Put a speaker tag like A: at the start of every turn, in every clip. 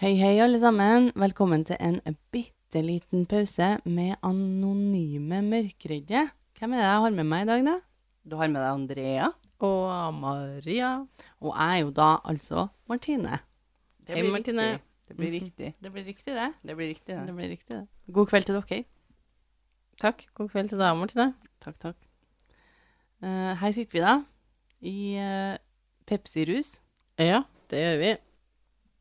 A: Hei, hei, alle sammen. Velkommen til en bitte liten pause med anonyme mørkredde. Hvem er det jeg har med meg i dag, da? Du har med deg Andrea.
B: Og Maria.
A: Og jeg er jo da altså Martine.
B: Hei,
C: blir
B: Martine.
C: riktig. Det blir riktig.
A: Det blir riktig, det.
C: Mhm. Det blir riktig, det.
A: Det blir riktig, det. God kveld til dere.
B: Takk. God kveld til deg, Martine.
A: Takk, takk. Eh, her sitter vi, da. I eh, Pepsi-rus.
B: Ja, det gjør vi.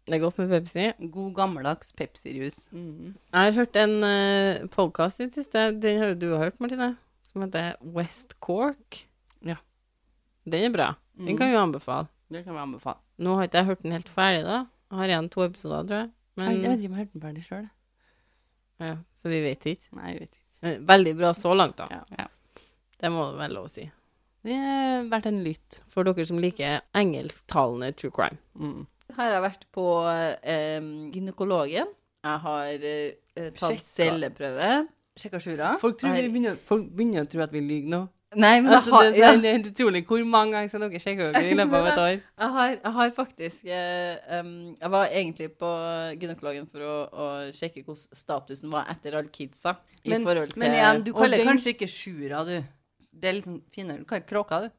B: Det er godt med Pepsi.
C: God gammeldags Pepsi-rus.
B: Jeg har hørt en uh, podkast i det siste. Den har jo du hørt, Martine. Som heter West Cork.
C: Ja.
B: Den er bra.
A: Mm.
B: Den kan vi anbefale.
C: Det kan vi anbefale.
B: Nå har ikke jeg hørt den helt ferdig, da. Jeg har igjen to episoder, tror jeg.
A: Jeg,
C: Mm.
A: jeg
B: Men,
A: vet ikke om jeg hørte den ferdig sjøl.
B: ja, så vi vet ikke.
A: Nei, jeg vet ikke.
B: Men Veldig bra så langt, da.
A: Ja.
C: Ja.
B: Det må det være lov å si.
A: Det har vært en lytt.
B: For dere som liker engelsktalende true crime.
C: Her har jeg vært på eh, gynekologen. Jeg har eh, tatt
A: Sjekka.
C: celleprøve. Sjekka sjura.
A: Folk, tror
C: Jeg-
A: vi begynner, folk begynner å tro at vi lyver nå.
C: Nei, men
A: Altså, det,
C: jeg, har, ja,
A: det er helt utrolig hvor mange ganger skal dere sjekke dere i løpet av et år.
C: jeg, har, jeg har faktisk eh, em, Jeg var egentlig på gynekologen for å, å sjekke hvordan statusen var etter alle kidsa. I
A: Men-
C: forhold til
A: du kaller kanskje
C: ikke sjura, du. Det er liksom finere. Du kaller kråka, du.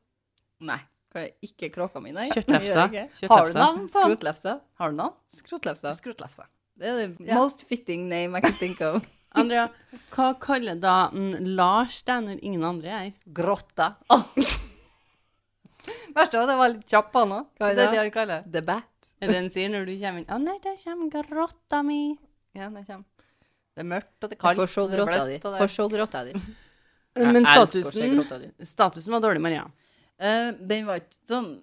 C: Nei. Kaller ikke kråka mi, nei. Det gjør
A: Kjøttlefsa.
C: jeg ikke.
A: Har du navn på den?
C: Skrotlefse.
A: Har du navn?
C: Skrotlefse.
A: Skrotlefsa.
C: Det er the
A: Ja.
C: most fitting name I can think of.
A: Andrea, hva kaller da en Lars deg når ingen andre er?
C: Grotta. Verst av at jeg var litt kjapp på nå.
A: Så det er det han kaller.
C: The Bat.
A: Er det han sier når du kommer inn? Å nei, der kommer grotta mi.
C: Ja, det kommer. Det er mørkt, og det er
A: kaldt,
C: kaldt. Få se
A: og det er
C: grotta
A: bløtt,
C: di.
A: og det-
C: Få se grotta di.
A: Men
C: Jeg elsker å se
A: statusen,
C: grotta di.
A: statusen var dårlig, Maria.
C: Eh, den var ikke sånn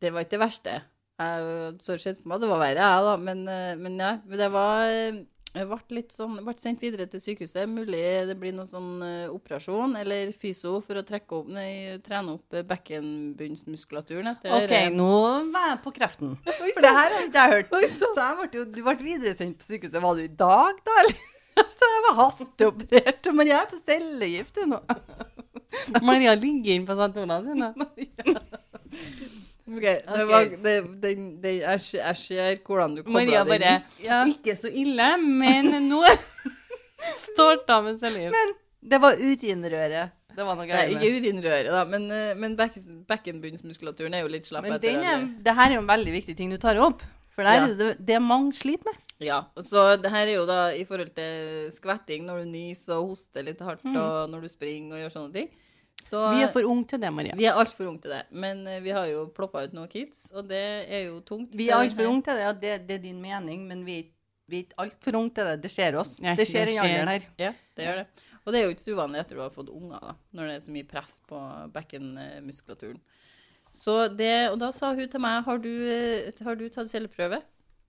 C: Det var ikke det verste. Jeg så sett for meg at det var verre, jeg, da. Men, eh, men ja. Men det var Jeg ble litt sånn Ble sendt videre til sykehuset. Mulig det blir noen sånn eh, operasjon eller fyso for å trekke opp Nei, trene opp eh, bekkenbunnsmuskulaturen etter
A: nå var jeg på kreften.
C: For det her
A: har ikke jeg hørt.
C: Så jeg ble jo, du ble videresendt på sykehuset. Var du i dag, da? Eller? Så jeg var hasteoperert. Men jeg er på cellegift, du, nå.
A: Maria ligger inn på St. Olavs, hun da.
C: Ok, Det
A: Ok.
C: var, det, den, den, jeg, ser- jeg ser hvordan du koblet
A: Maria
C: den
A: bare
C: inn. Ja.
A: Ikke så ille, men nå starta med cellegift.
C: Det var urinrøret.
A: Det var noe
C: Nei,
A: greier med.
C: ikke urinrøret, da, men, eh, men bekken- bekkenbunnsmuskulaturen er jo litt slapp
A: Men
C: etter
A: den er,
C: alle.
A: det her er jo en veldig viktig ting du tar opp. For det, her, er det, det mange sliter med.
C: Ja, så det her er jo da i forhold til skvetting når du nyser og hoster litt hardt,
D: Mm.
C: og når du springer og gjør sånne ting. Så,
A: Vi er for unge til det, Maria.
C: Vi er altfor unge til det, men eh, vi har jo ploppa ut noen kids, og det er jo tungt.
D: Vi er altfor unge til det, ja, det, det er din mening, men vi, er ikke- vi er ikke altfor unge til det. Det skjer oss.
A: Nei,
D: det skjer
A: det
D: i
A: skjer.
D: alderen her.
C: Ja, det gjør det. Og det er jo ikke så uvanlig etter du har fått unger, da, når det er så mye press på bekkenmuskulaturen. Så det, og da sa hun til meg Har du, eh, har du tatt celleprøve?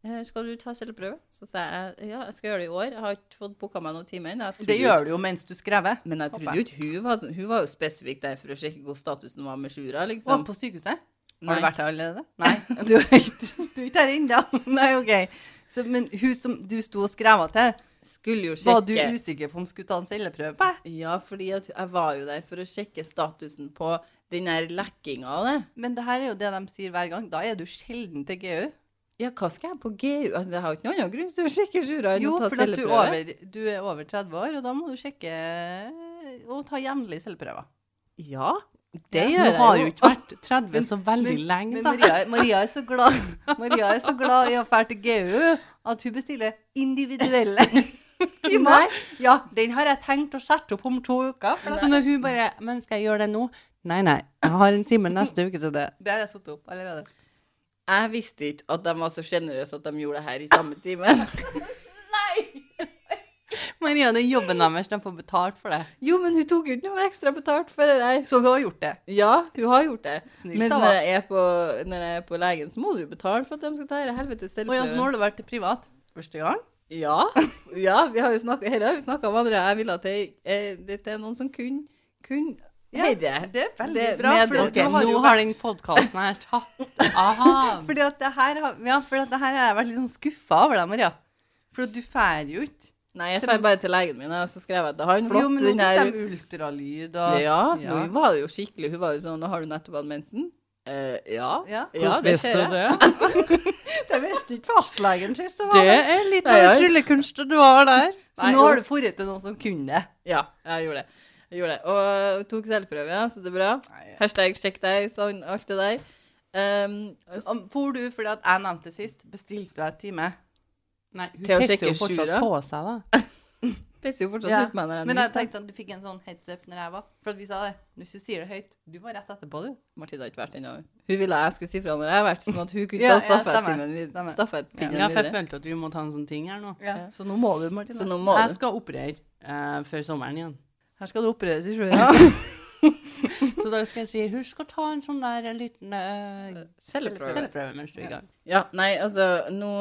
C: Eh, Skal du ta celleprøve? Så sa jeg ja, jeg skal gjøre det i år. Jeg har ikke fått booka meg noen timer ennå.
D: Det gjør du jo mens du skrever.
C: Men jeg trodde
D: håper
C: jo ikke hun var sånn- Hun var jo spesifikk der for å sjekke hvor statusen var med Sjura,
D: Og
C: liksom.
D: på sykehuset.
C: Nei.
D: Har du vært her allerede? Nei. Du er ikke, du er ikke her ennå? Nei, OK. Så, men hun som du sto og skreva til,
C: Skulle jo sjekke
D: var du usikker på om hun skulle ta en celleprøve på?
C: Ja, fordi at jeg var jo der for å sjekke statusen på den der lekkinga av det.
D: Men det her er jo det de sier hver gang. Da er du sjelden til GU.
C: Ja, hva skal jeg på GU? Altså, jeg har jo ikke noen annen grunn til å sjekke Sjura enn
D: Jo,
C: å ta
D: for at du, er
C: celleprøve.
D: over, du er over 30 år, og da må du sjekke og ta jevnlige celleprøver.
C: Ja, det
A: Nå
C: gjør jeg jo.
A: har jo ikke vært 30 så veldig
D: Men-
A: lenge,
D: Men
A: da.
D: Maria, Maria, er så glad, Maria er så glad i å dra til GU at hun bestiller individuelle timer. Ja, den har jeg tenkt å sette opp om to uker. For
A: Så når hun bare Men skal jeg gjøre det nå? Nei, nei. Jeg har en time neste uke til det.
D: det har jeg satt opp allerede.
C: Jeg visste ikke at de var så sjenerøse at de gjorde det her i samme timen.
A: Maria, det er jobben deres. De får betalt for det.
C: Jo, men hun tok jo ikke noe ekstra betalt for det der.
D: Så hun har gjort det.
C: Ja, hun har gjort det.
D: Snilt,
C: Men
D: da,
C: når
D: hva?
C: jeg, er på, når jeg er på legen, så må du jo betale for at de skal ta denne helvetes
D: Og ja, så nå
C: celleprøven.
D: har du vært til privat første gang.
C: Ja, ja, vi har jo snakka Dette har vi snakka om andre. Jeg ville at det, eh, det er noen som kunne kun, Herre.
D: det er veldig
C: Det-
D: bra.
C: med
D: For
C: det-
D: at
A: Ok,
D: du har
A: nå
D: jo
A: har den podkasten her tatt av.
D: Fordi at det her, har- ja, for at det her har jeg vært litt sånn skuffa over deg, Maria. For at du drar jo ikke.
C: Nei, jeg drar bare til legen min, og så skrev jeg til han.
D: Jo, men nå
C: den
D: tok
C: her-
D: de ultralyd og
C: Ja,
D: Ja.
C: hun var jo skikkelig Hun var jo sånn 'Har du nettopp hatt mensen?'
E: Eh, ja.
D: Ja.
E: ja,
C: Hvordan
E: det
C: visste
E: ser
C: du
E: jeg.
C: det?
D: Det visste ikke fastlegen sist. Det
C: Det
D: var det.
C: er litt
E: Nei,
C: av
E: jeg-
C: tryllekunst du har der.
D: Så nå har du forret til noen som kunne det.
E: Ja, jeg gjorde det. Jeg gjorde det. Og tok selvprøve, ja, så det er bra.
D: Nei.
E: Hashtag sjekk deg, sånn, alt det der. Ehm,
D: Så,
E: s-
D: om- for du, fordi at jeg nevnte det sist, bestilte du en time.
A: Nei, hun
E: Til å
A: pisser
E: sjekke
A: jo fortsatt
E: sjura.
A: på seg, da.
E: pisser jo fortsatt
D: Ja.
E: ut meg når jeg
D: Men jeg
E: nyser.
D: tenkte sånn, du fikk en sånn heads up når jeg var For at vi sa det. Hvis du sier det høyt Du var rett etterpå, du.
E: Martine har ikke vært ennå. Hun ville jeg skulle si fra når jeg har vært, sånn at hun kunne ta
D: Ja, ja, stemmer.
E: stafettpinnen vid-
D: Stemmer.
E: stafettpinnen
A: Ja, for jeg
E: videre.
A: følte at vi måtte ha en sånn ting her nå.
D: Ja. Så nå må du, Martine.
E: Så nå må
A: Jeg
E: du.
A: skal operere eh, før sommeren igjen.
D: Her skal det opereres i sjøen.
A: Så da skal jeg si husk å ta en sånn der liten eh,
E: Selvprøve.
A: selvprøve mens du er i gang.
E: Ja, nei, altså, nå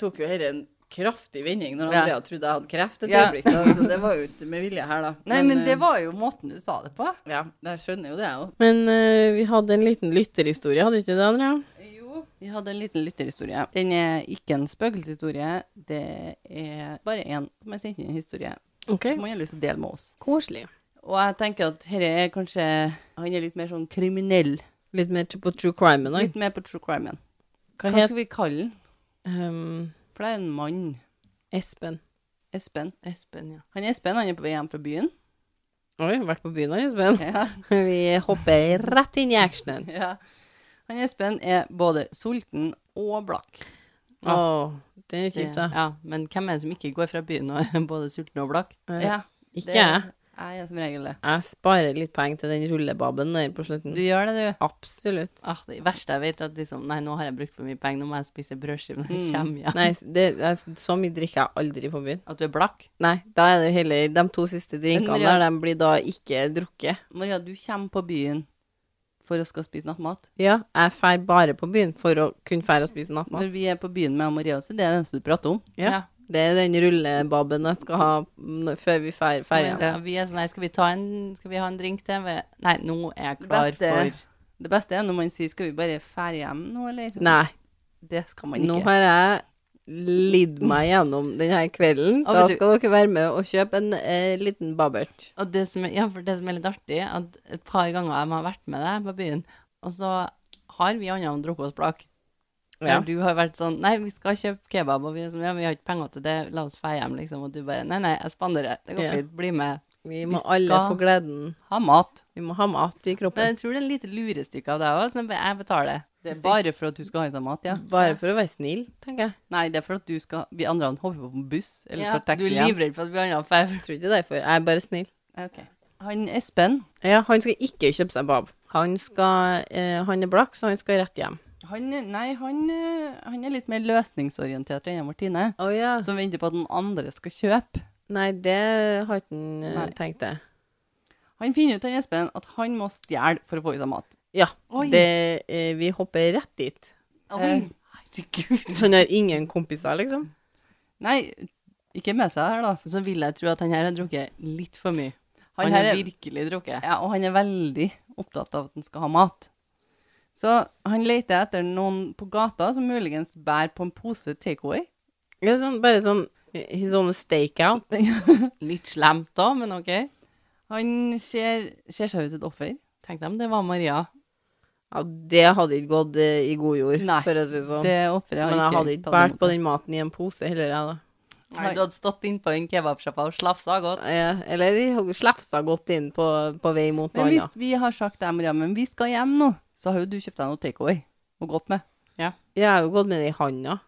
E: tok jo dette en kraftig vending når
D: Ja.
E: Andrea trodde jeg hadde kreft et
D: Ja.
E: øyeblikk. da, Så det var jo ikke med vilje her, da.
D: Nei, men
E: eh,
D: det var jo måten du sa det på.
E: Ja, jeg skjønner jo det, jeg òg.
C: Men eh, vi hadde en liten lytterhistorie, hadde vi ikke det, Andrea?
E: Jo.
D: Vi hadde en liten lytterhistorie. Den er ikke en spøkelseshistorie. Det er bare én som har sendt inn en historie
C: Ok.
D: som han har lyst til å dele med oss.
C: Koselig.
D: Og jeg tenker at dette er kanskje Han er litt mer sånn kriminell.
C: Litt mer på true crime i dag.
D: Litt mer på true crime.
C: Hva
D: Hva
C: het
D: skal vi kalle den?
C: ehm,
D: For det er en mann.
C: Espen?
D: Espen.
A: Espen, ja.
D: Han er Espen, han er på vei hjem fra byen.
C: Oi, vært på byen da, Espen?
D: Ja,
C: Vi hopper rett inn i actionen.
D: ja. Han Espen er både sulten og blakk.
C: Å, det er kjipt, da.
A: ja. Men hvem er det som ikke går fra byen og er både sulten og blakk?
C: Eh,
D: Ja,
C: Ikke
D: det-
C: jeg.
D: Jeg er som regel det.
C: Jeg sparer litt penger til den rullebaben der på
D: Du
C: slutten.
D: gjør det, du.
C: Absolutt.
A: Ah, det verste jeg vet, er at liksom Nei, nå har jeg brukt for mye penger, nå må jeg spise brødskive når jeg
D: Mm.
A: kommer hjem.
C: Nei, s- det, jeg, s- så mye drikker jeg aldri på byen.
A: At du er blakk?
C: Nei, da er det heller de to siste drinkene
D: Men
C: der,
D: Maria-
C: de blir da ikke drukket.
D: Maria, du kommer på byen for å skal spise nattmat.
C: Ja, jeg drar bare på byen for å kunne dra og spise nattmat.
D: Når vi er på byen med Maria også, det er det eneste du prater om.
C: Ja. Det er den rullebaben jeg skal ha når, før vi drar igjen.
A: Ja, vi er sånn, nei, skal vi, ta en, skal vi ha en drink til? Vi- Nei, nå er jeg klar
D: Beste-
A: for
D: Det beste er når man sier 'skal vi bare fære hjem nå', eller?
C: Nei,
D: Det skal man ikke.
C: nå har jeg lidd meg gjennom denne kvelden.
D: Å,
C: Da
D: vet du-
C: skal dere være med og kjøpe en eh, liten babert.
A: Og det som, er- ja, for det som er litt artig, at et par ganger jeg har vært med deg på byen, og så har vi andre drukket oss blakk.
C: Ja.
A: Der du har vært sånn Nei, vi skal kjøpe kebab, og vi er sånn Ja, vi har ikke penger til det, la oss dra hjem, liksom. Og du bare Nei, nei, jeg spanderer. Det går
C: Ja.
A: fint. Bli med.
C: Vi må
A: Vi
C: alle
A: skal-
C: få gleden.
D: Ha mat.
C: Vi må ha mat i
A: Men
C: kroppen.
A: jeg tror det er et lite lurestykke av deg òg, sånn jeg betaler.
D: Det er bare for at du skal ha i deg mat, ja.
C: Bare for å være snill, tenker jeg.
D: Nei, det er for at du skal Vi andre hopper på en buss eller
A: Ja,
D: tar taxi
A: du er
D: hjem.
A: livredd for at vi andre drar.
C: Jeg tror ikke det er derfor. Jeg er bare snill.
D: Ok. Han Espen,
C: Ja, han skal ikke kjøpe seg bab. Han, skal, eh, han er blakk, så han skal rett hjem.
D: han, nei, han, eh, han er litt mer løsningsorientert enn Martine,
C: Å ja.
D: som venter på at noen andre skal kjøpe.
C: Nei, det har ikke han eh,
D: Nei.
C: tenkt det.
D: Han finner ut han Espen, at han må stjele for å få i seg mat.
C: Ja,
A: Oi.
C: det, eh, vi hopper rett dit.
D: Eh, herregud.
C: Så han har ingen kompiser, liksom?
D: Nei, ikke med seg her, da.
A: Så vil jeg tro at han her har drukket litt for mye.
D: Han
A: Han,
D: her
A: har
D: er-
A: virkelig drukket.
D: Ja, og han er veldig opptatt av at han skal ha mat. Så han leter etter noen på gata som muligens bærer på en pose takeaway.
C: Ja, sånn, bare sånn He's on a stakeout.
A: Litt slemt da, men ok.
D: Han ser, ser seg ut som et offer.
A: Tenk deg om det var Maria.
C: Ja, det hadde ikke gått eh, i god jord,
D: Nei,
C: for å si det sånn.
D: Det offeret har
C: Men jeg hadde ikke
D: tatt imot
C: båret på den maten i en pose heller, jeg, da.
A: Nei, du hadde stått innpå den kebabsjappa og slafsa godt.
C: Ja, eller vi har slafsa godt inn på, på vei mot noe
D: Men hvis
C: annet.
D: vi har sagt det, Maria, men vi skal hjem nå, så har jo du kjøpt deg noe takeaway og gått med.
C: Jeg har jo gått med det i handa.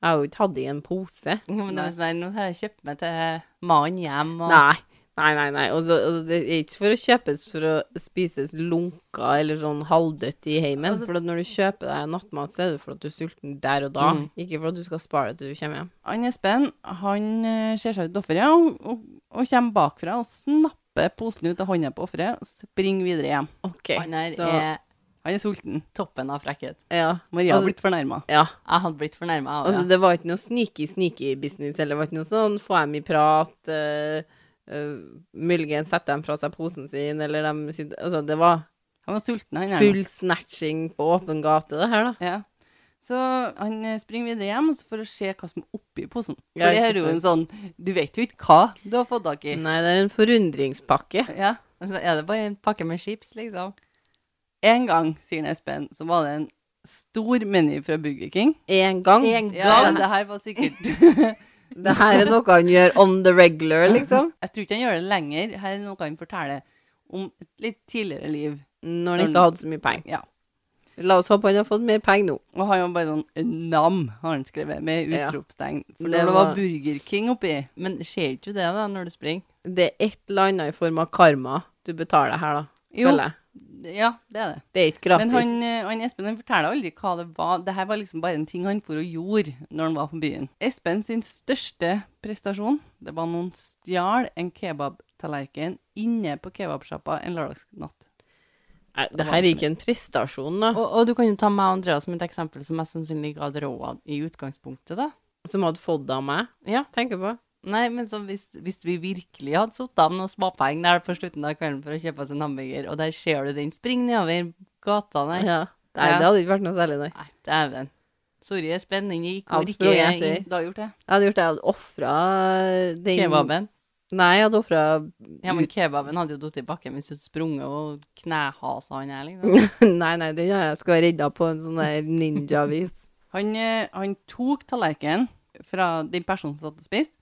C: Jeg har jo ikke hatt det i en pose.
A: Ja, Men det var sånn, nå har jeg kjøpt meg til mannen hjem, og
C: Nei. Nei, nei, nei. Og så- og så det er ikke for å kjøpes for å spises lunka eller sånn halvdødt i heimen. for at når du kjøper deg nattmat, så er det for at du er sulten der og da. Ikke for at du skal spare det til du kommer hjem.
D: Han Espen han eh, ser seg ut til offeret og, og, og kommer bakfra og snapper posen ut av hånda på offeret og springer videre hjem.
C: OK.
A: han her
C: så,
A: er
D: Han er sulten.
A: toppen av frekkhet.
C: Ja.
D: Maria har
C: Altså-
D: blitt fornærma.
C: ja.
A: Jeg hadde blitt fornærma.
C: Altså, det var ikke noe sneaky, sneaky business, eller det var ikke noe sånn få dem i prat, eh, eh, muligens sette dem fra seg posen sin, eller de sitter Altså, det var
D: Han var sulten, han her. nå.
C: full snatching på åpen gate, det her, da.
D: Ja. Så han eh, springer videre hjem og så for å se hva som er oppi posen. For
C: Ja,
D: det
C: ikke
D: er jo en sånn Du vet jo ikke hva du har fått tak i.
A: Mm.
C: Nei, det er en forundringspakke.
D: Ja.
A: Altså, er det bare en pakke med chips, liksom?
D: En gang, sier Espen, så var det en stor meny fra Burger King.
C: Én gang.
F: En
D: Ja, ja,
F: gang.
D: det her var sikkert
C: Det her er noe han gjør on the regular, liksom.
D: Jeg tror ikke han gjør det lenger. Her er noe han forteller om et litt tidligere liv.
C: Når han ikke hadde så mye penger.
D: Ja.
C: La oss håpe han har fått mer penger nå.
D: Og han var bare sånn Nam, har han skrevet, med
C: Ja.
D: utropstegn. For
C: Det
D: når det var
C: var-
D: Burger King oppi
A: Men skjer ikke det da, når du springer?
C: Det er et eller annet i form av karma du betaler her, da.
D: Jo,
C: føler jeg.
D: ja, det er det.
C: Det er ikke gratis.
D: Men han, eh, han Espen han forteller aldri hva det var. Dette var liksom bare en ting han for og gjorde når han var på byen. Espen sin største prestasjon, det var noen stjal en kebabtallerken inne på kebabsjappa en lørdagsnatt.
C: Nei, det her er ikke en prestasjon, da.
A: Og, og du kan jo ta meg og Andrea som et eksempel som mest sannsynlig ikke hadde råd i utgangspunktet, da.
C: Som hadde fått det av meg.
A: Ja.
C: Tenker på.
A: Nei, men så hvis, hvis vi virkelig hadde sittet av noen småpenger der på slutten av kvelden for å kjøpe oss en hamburger, og der ser du den springe nedover gata, nei.
C: Ja. Nei,
A: Ja.
C: det hadde ikke vært noe særlig, nei.
A: Nei, dæven. Sorry, Espen, den gikk
C: Han
A: hvor
C: sprang
A: ikke
C: etter.
A: i
D: Du har gjort det?
C: Jeg hadde gjort det. Jeg hadde ofra den
A: kebaben.
C: Nei, jeg hadde ofra
A: Ja, men kebaben hadde jo datt i bakken hvis du hadde sprunget og knehasa han her, liksom.
C: Nei, nei, den har jeg skal være redda på en sånn der ninja-vis.
D: Han, eh, han tok tallerkenen fra den personen som satt og spiste.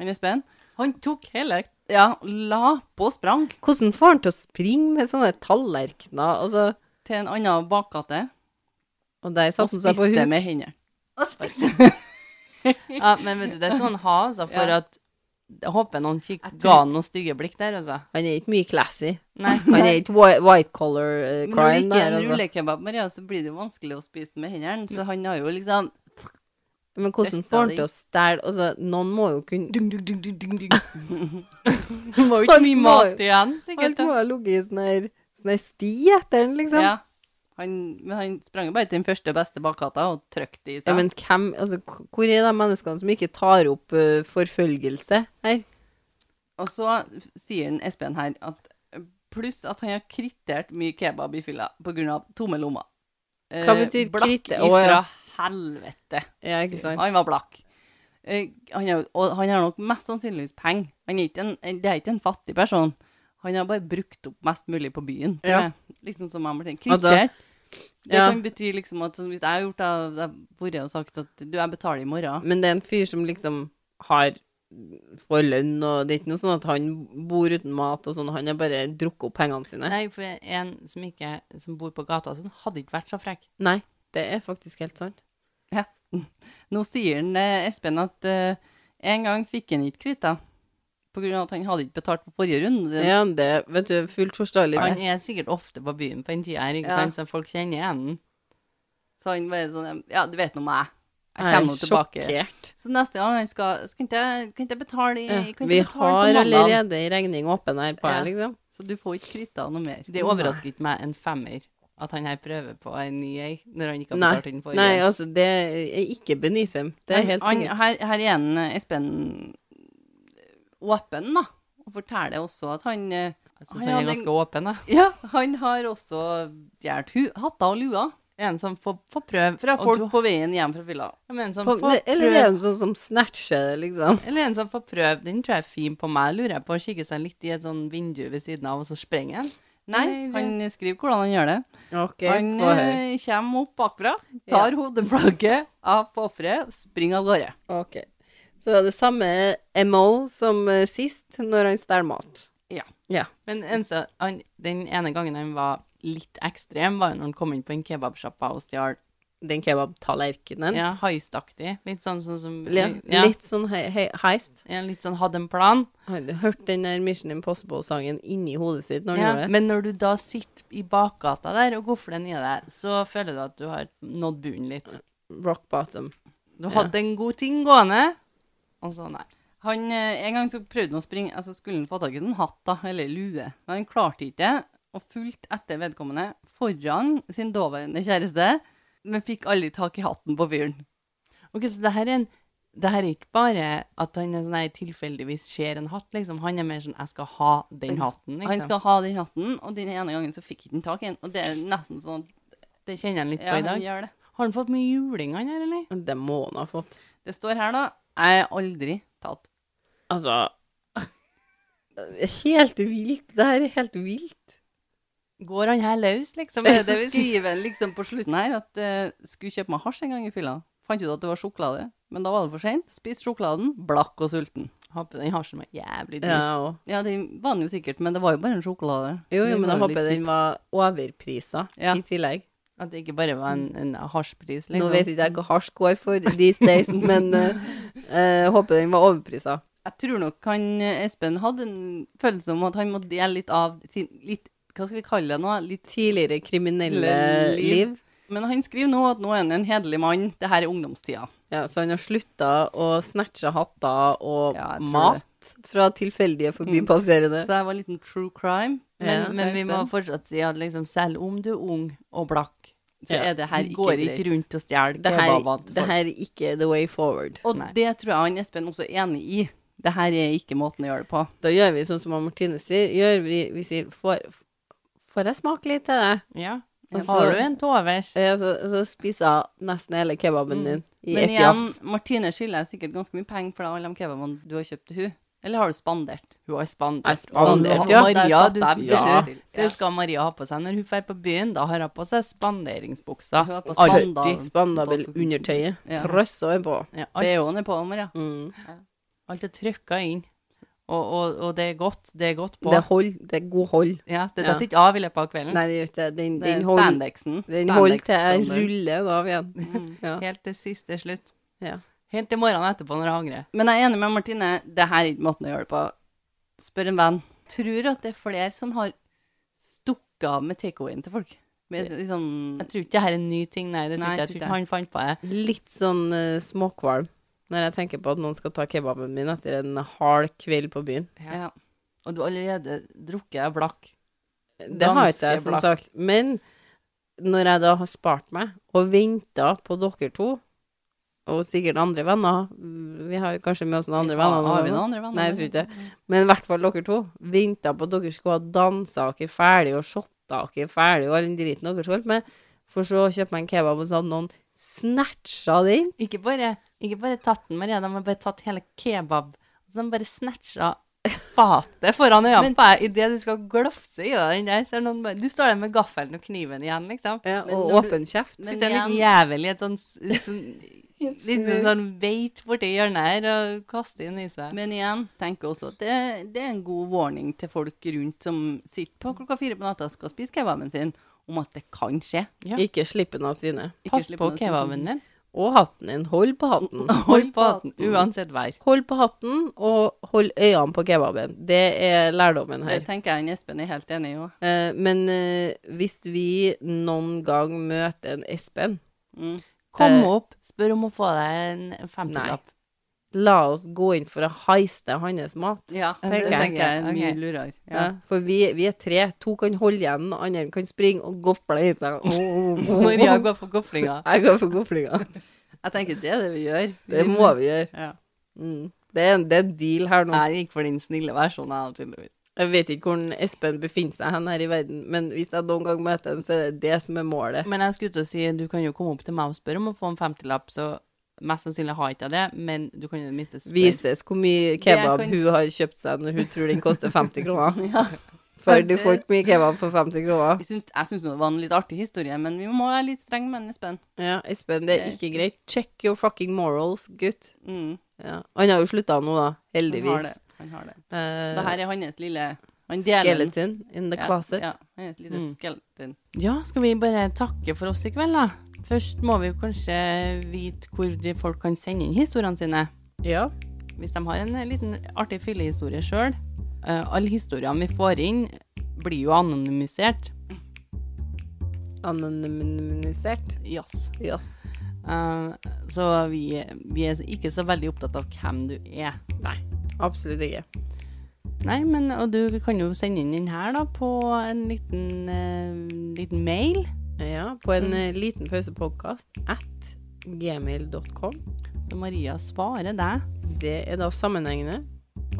D: Han Espen.
A: Han tok hele
D: Ja, la på sprang
C: Hvordan får han til å springe med sånne tallerkener? Altså,
D: til en annen bakgate
C: og der
D: og
C: satte han seg på
D: spiste
C: huet.
D: med hendene.
A: Ja, men vet du, det skal han ha, altså, for
D: Ja.
A: at Jeg håper noen kikk,
D: Jeg tror-
A: ga han noen stygge blikk der, altså.
C: Han er ikke mye classy.
A: Nei.
C: Han er ikke white, white collar eh,
D: Men når det
C: crime
D: ikke
C: der.
D: er en
C: Altså.
D: rullekebab, Maria, så blir det jo vanskelig å spise med hendene. Så han har jo liksom
C: Men hvordan
D: Dette
C: får han
D: er
C: til å stjele altså, Noen må jo kunne
A: Dung, dung, dung, dung, dung, dung. Det var jo ikke mye mat igjen, sikkert.
C: Alt
A: da.
C: må ha ligget i sånn der, sånn der sti etter den, liksom. Ja.
D: Ja. Han, men han sprang jo bare til den første beste bakgata og trykte i seg.
C: men hvem, altså, k- hvor er de menneskene som ikke tar opp eh, forfølgelse her?
D: Og så sier han Espen her at pluss at han har krittert mye kebab i fylla pga. tomme lommer. Eh,
C: Hva betyr
D: blakk
C: kritte?
D: ifra
C: Å, ja.
D: helvete.
C: Ja, ikke sant?
D: Han var blakk. Eh, han er, jo- og han har nok mest sannsynligvis penger. Han er ikke en, en- det er ikke en fattig person. Han har bare brukt opp mest mulig på byen. tror
C: Ja.
D: jeg. Liksom som jeg ble tenkt.
C: Altså,
D: Krittert. Det
C: ja.
D: kan bety liksom at sånn, hvis jeg har gjort det, da hadde jeg vært og sagt at du, jeg betaler i morgen.
C: Men det er en fyr som liksom har får lønn, og det er ikke noe sånn at han bor uten mat og sånn, han har bare drukket opp pengene sine. Nei,
A: Nei, for en som, ikke, som bor på gata, og sånn, hadde ikke vært så frekk.
C: det er faktisk helt sant.
D: Nå sier han, eh, Espen at eh, en gang fikk han ikke krita. På grunn av at han hadde ikke betalt på forrige runde.
C: Ja, det, vet du, fullt forståelig.
A: Han er sikkert ofte på byen på den tida her, ikke
C: Ja.
A: sant, så folk kjenner igjen den.
D: Så han bare sånn Ja, du vet nå meg. Jeg
C: Jeg er
D: kommer nå tilbake.
C: Sjokkert.
D: Så neste gang han skal Skal ikke jeg- kan ikke jeg betale i
C: Ja.
D: kan ikke
C: Vi
D: jeg betale på
C: har
D: mandag?»
C: allerede en regning åpen her på
D: Ja.
C: her, liksom.
D: Så du får ikke krita noe mer.
A: Det overrasker ikke meg en femmer at han her prøver på en ny ei, når han ikke har
C: Nei.
A: betalt inn forrige.
C: Nei, altså, det er ikke beneath him. Det er
D: Men
C: helt
D: han,
C: sikkert.
D: her, her er en eh, Espen eh, åpen, da. Og forteller også at han eh,
A: Jeg synes
D: han
A: han er
D: hadde en-
A: ganske åpen, da.
D: Ja, han har også stjålet hu- hatter og luer
A: En som får, får prøve.
D: fra
A: og
D: folk
A: du-
D: på veien hjem fra fylla.
A: Ja, men en som
C: På,
A: får
C: det, eller er det sånn som snatcher det, liksom?
A: Eller en som får prøve, den tror jeg er fin på meg, lurer jeg på, å kikke seg litt i et sånn vindu ved siden av, og så sprenger den.
D: Nei,
A: Eller-
D: han skriver hvordan han gjør det.
C: Ok,
D: Han
C: få høre.
D: eh, kommer opp bakfra, tar hodeplagget av på offeret, springer av gårde.
C: Ok. Så det er det samme MO som eh, sist, når han stjeler mat.
D: Ja.
C: Ja.
A: Men en, så- han, den ene gangen han var litt ekstrem, var jo når han kom inn på en kebabsjappa og stjal
C: Den kebabtallerkenen.
A: ja, heistaktig. Litt sånn sånn som
C: Ja,
A: ja,
C: Litt sånn he he heist.
A: ja, litt sånn hadde en plan.
C: Har du hørt den der Mission Impossible-sangen inni hodet sitt når han
A: Ja,
C: gjorde det?
A: men når du da sitter i bakgata der og gofler den i deg, så føler du at du har nådd bunnen litt.
C: Rock bottom.
A: Du hadde en god ting gående, og så nei.
D: Han, eh, en gang så prøvde han å springe, altså skulle han få tak i en hatt da, eller lue, men han klarte ikke det, og fulgte etter vedkommende foran sin daværende kjæreste, men fikk aldri tak i hatten på fyren.
A: Ok, så det her er en det her er ikke bare at han er sånn her tilfeldigvis ser en hatt, liksom. Han er mer sånn 'jeg skal ha den hatten', liksom.
D: Han skal ha den hatten, og den ene gangen så fikk ikke han tak i den, og det er nesten sånn, at-
A: Det kjenner han litt
D: ja,
A: på i
D: han
A: dag.
D: gjør det.
A: Har han fått mye juling, han her, eller?
C: Det må han ha fått.
D: Det står her da, jeg er aldri tatt.
C: Altså Helt vilt. Det her er helt vilt.
A: Går han her løs, liksom?
D: Det
A: Er
D: er
A: det
D: så
A: vi sier?
D: skriver han liksom på slutten her at eh, skulle kjøpe meg hasj en gang i fylla. Fant ut at det var sjokolade, men da var det for seint. Spiste sjokoladen, blakk og sulten.
A: Håper den hasjen var jævlig dyr.
C: Ja, og.
D: Ja, det var han jo sikkert, men det var jo bare en sjokolade.
C: Jo,
D: Så
C: jo,
D: det
C: men jeg
D: var jo
C: håper
D: litt
C: den var overprisa
D: Ja.
C: i tillegg.
A: At det ikke bare var en, en hasjpris, liksom.
C: Nå vet ikke jeg hva hasj går for these days, men eh, eh, håper den var overprisa.
D: kjipt. Jeg tror nok han eh, Espen hadde en følelse om at han må dele litt av sin litt, Hva skal vi kalle det nå? Litt
C: Tidligere kriminelle
D: Le- liv.
C: liv.
D: Men han skriver nå at nå er han en hederlig mann. Det her er ungdomstida.
C: Ja, så han har slutta å snatche hatter og
D: Ja, jeg tror
C: mat fra tilfeldige forbipasserende.
D: Så det her var en liten true crime.
A: Men,
C: Ja,
A: men vi må
D: Espen.
A: fortsatt si at liksom, selv om du er ung og blakk, så
C: Ja.
A: er det her
D: Du
A: ikke
D: går
A: greit.
D: ikke
A: Går ikke rundt og stjeler
C: det, her,
A: kebabene til
C: det
A: folk.
C: her er ikke the way forward.
D: Og
A: Nei.
D: det tror jeg han Espen også er enig i. Det her er ikke måten å gjøre det på.
C: Da gjør vi sånn som Martine sier. Gjør vi, vi sier får, får jeg smake litt til deg?
A: Ja.
C: Og så-
A: Har du en tovers?
C: Ja, så, så Eh, altså, spiser jeg nesten hele kebaben din i
D: Mm. Men
C: ett
D: igjen,
C: jafs.
D: Martine skylder jeg sikkert ganske mye penger for alle de kebabene du har kjøpt til hun. Eller har du spandert?
A: Hun har
C: Jeg
A: spandert.
C: spandert,
A: Og
C: ja.
A: Maria,
D: Der
A: du,
D: satt
A: vet
D: jeg, vet
A: du,
D: du.
A: det skal Maria ha på seg når hun drar på byen. Da har hun på seg spanderingsbuksa.
D: Hun har på
A: Alltid.
D: spandal.
C: Spandabel undertøyet.
D: Ja.
C: Trøssa er på.
A: Ja,
D: Det
A: alt,
D: er jo han er på, Maria.
C: Mm.
A: alt er trykka inn. Og, og, og det er godt. Det er godt på.
C: Det, hold, det er god hold.
A: ja, det
C: ja.
A: datt ikke av i løpet av kvelden.
C: Nei, det gjør ikke det. Den,
D: Mm. Det
C: den
D: er
C: hold,
D: Spandexen.
C: den hold til jeg
A: Spandex-standard.
C: ruller det av igjen.
D: Mm.
C: Mm. Ja.
A: Helt til siste slutt.
C: Ja.
A: Helt til morgenen etterpå når jeg angrer.
D: Men jeg er enig med Martine. Det her er ikke måten å gjøre det på. Spør en venn. Tror at det er flere som har stukket av med takeawayen til folk. Med liksom
A: Jeg tror ikke det her er en ny ting, nei. Det tror
D: Nei,
A: ikke jeg.
D: tror
A: jeg
D: ikke
A: tror ikke han fant på det.
C: Litt sånn eh, småkvalm når jeg tenker på at noen skal ta kebaben min etter en hard kveld på byen.
D: ja.
A: Og du har allerede drukket deg blakk.
C: Det har
A: Ganske
C: ikke jeg, som
A: blakk.
C: sagt. Men når jeg da har spart meg og venta på dere to, og sikkert andre venner Vi har jo kanskje med oss noen andre venner. nå,
D: Har vi
C: da.
D: noen andre venner?
C: Nei, jeg tror ikke det. Men i hvert fall dere to venta på at dere skulle ha dansa dere ferdig og shotta dere ferdig og all den driten dere skulle holdt med, for så å kjøpe meg en kebab, og så hadde noen snatcha den.
A: Ikke bare, ikke bare tatt den, Maria. De har bare tatt hele kebab. Og så har de bare snatcha fatet foran øynene på deg idet du skal glofse i deg den der. Så er det noen bare, du står der med gaffelen og kniven igjen, liksom.
D: Men
C: og
D: når du-
C: åpen kjeft.
D: Men
A: Sitter en liten
D: igjen-
A: jævel i et sånn, s- sånn Litt sånn sånn veit borti hjørnet her og kaster inn i seg.
D: Men igjen, tenker også at det, det er en god warning til folk rundt som sitter på klokka fire på natta og skal spise kebaben sin, om at det kan skje.
A: Ja.
C: Ikke slipp den av syne.
D: Ikke
A: Pass
D: slipp
A: på
D: den sånn.
A: kebaben din.
C: Og hatten din. Hold på hatten.
A: Hold på den, Eh, uansett vær.
C: Hold på hatten, og hold øynene på kebaben. Det er lærdommen
D: Det
C: her.
D: tenker jeg han Espen er helt enig i òg.
C: Eh, men eh, hvis vi noen gang møter en Espen,
A: Kom
C: Eh,
A: opp, spør om å få deg en femtilapp.
C: la oss gå inn for å heiste hans mat.
D: Ja, det
C: tenker jeg.
D: tenker jeg, er
A: Ok.
D: mye lurere.
C: Ja.
D: Ja.
C: For vi, vi er tre. To kan holde igjen, den andre kan springe og gofle i seg. Oh, oh, oh.
A: Maria går for goflinga.
C: Jeg går for goflinga.
D: Jeg tenker det er det vi gjør.
C: Det må vi gjøre.
D: Ja.
C: Mm. Det, er en, det er en deal her nå.
A: Jeg gikk for den snille versjonen, jeg, tydeligvis.
C: Jeg vet ikke hvor Espen befinner seg hen her i verden, men hvis jeg noen gang møter ham, så er det det som er målet.
A: Men jeg skulle til å si, du kan jo komme opp til meg og spørre om å få en femtilapp, så mest sannsynlig har ikke jeg det, men du kan jo i det minste spørre.
C: Vises hvor mye kebab
D: Det kan-
C: hun har kjøpt seg når hun tror den koster 50 kroner. For du får ikke mye kebab for 50 kroner.
D: Jeg syns, jeg syns det var en litt artig historie, men vi må være litt strenge med han Espen.
C: Ja, Espen, det er ikke greit. Check your fucking morals, gutt.
D: Mm,
C: Ja. Han har jo slutta nå, da.
D: han har
C: Heldigvis.
D: det. Han har det.
C: Eh,
D: Det her er hans lille han deler den.
C: Skeleton in the
D: Ja,
C: closet.
D: Ja, hans lille
A: Mm.
D: skeleton.
A: Ja, skal vi bare takke for oss i kveld, da? Først må vi jo kanskje vite hvor de folk kan sende inn historiene sine.
C: Ja.
A: Hvis de har en eh, liten artig fyllehistorie sjøl. alle historiene vi får inn, blir jo anonymisert.
C: Anonymisert.
A: Yes.
C: Yes.
A: Eh, så vi, vi er ikke så veldig opptatt av hvem du er.
C: Nei, absolutt ikke.
A: Nei, men og du kan jo sende inn den her da på en liten, eh, liten mail.
C: Ja, på en eh, liten pausepodkast at gmail.com.
A: Så Maria svarer deg.
C: Det er da sammenhengende.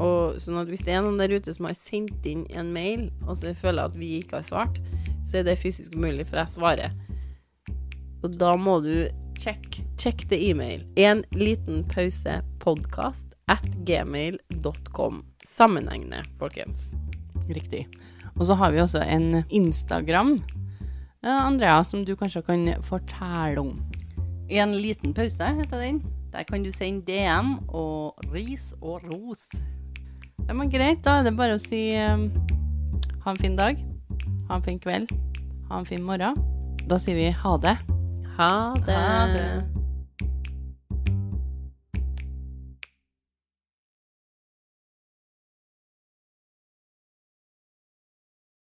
C: Og sånn at hvis det er noen der ute som har sendt inn en mail, og så føler jeg at vi ikke har svart, så er det fysisk umulig, for jeg svarer. Og da må du check, check the email. En liten pause podkast at gmail.com. Sammenhengende, folkens.
A: Riktig. Og så har vi også en Instagram, eh, Andrea, som du kanskje kan fortelle om.
D: En liten pause heter den. Der kan du sende DM og ris og ros.
A: Ja, men greit, da er det bare å si eh, ha en fin dag, ha en fin kveld, ha en fin morgen. Da sier vi ha det.
C: Ha det.
D: Ha det.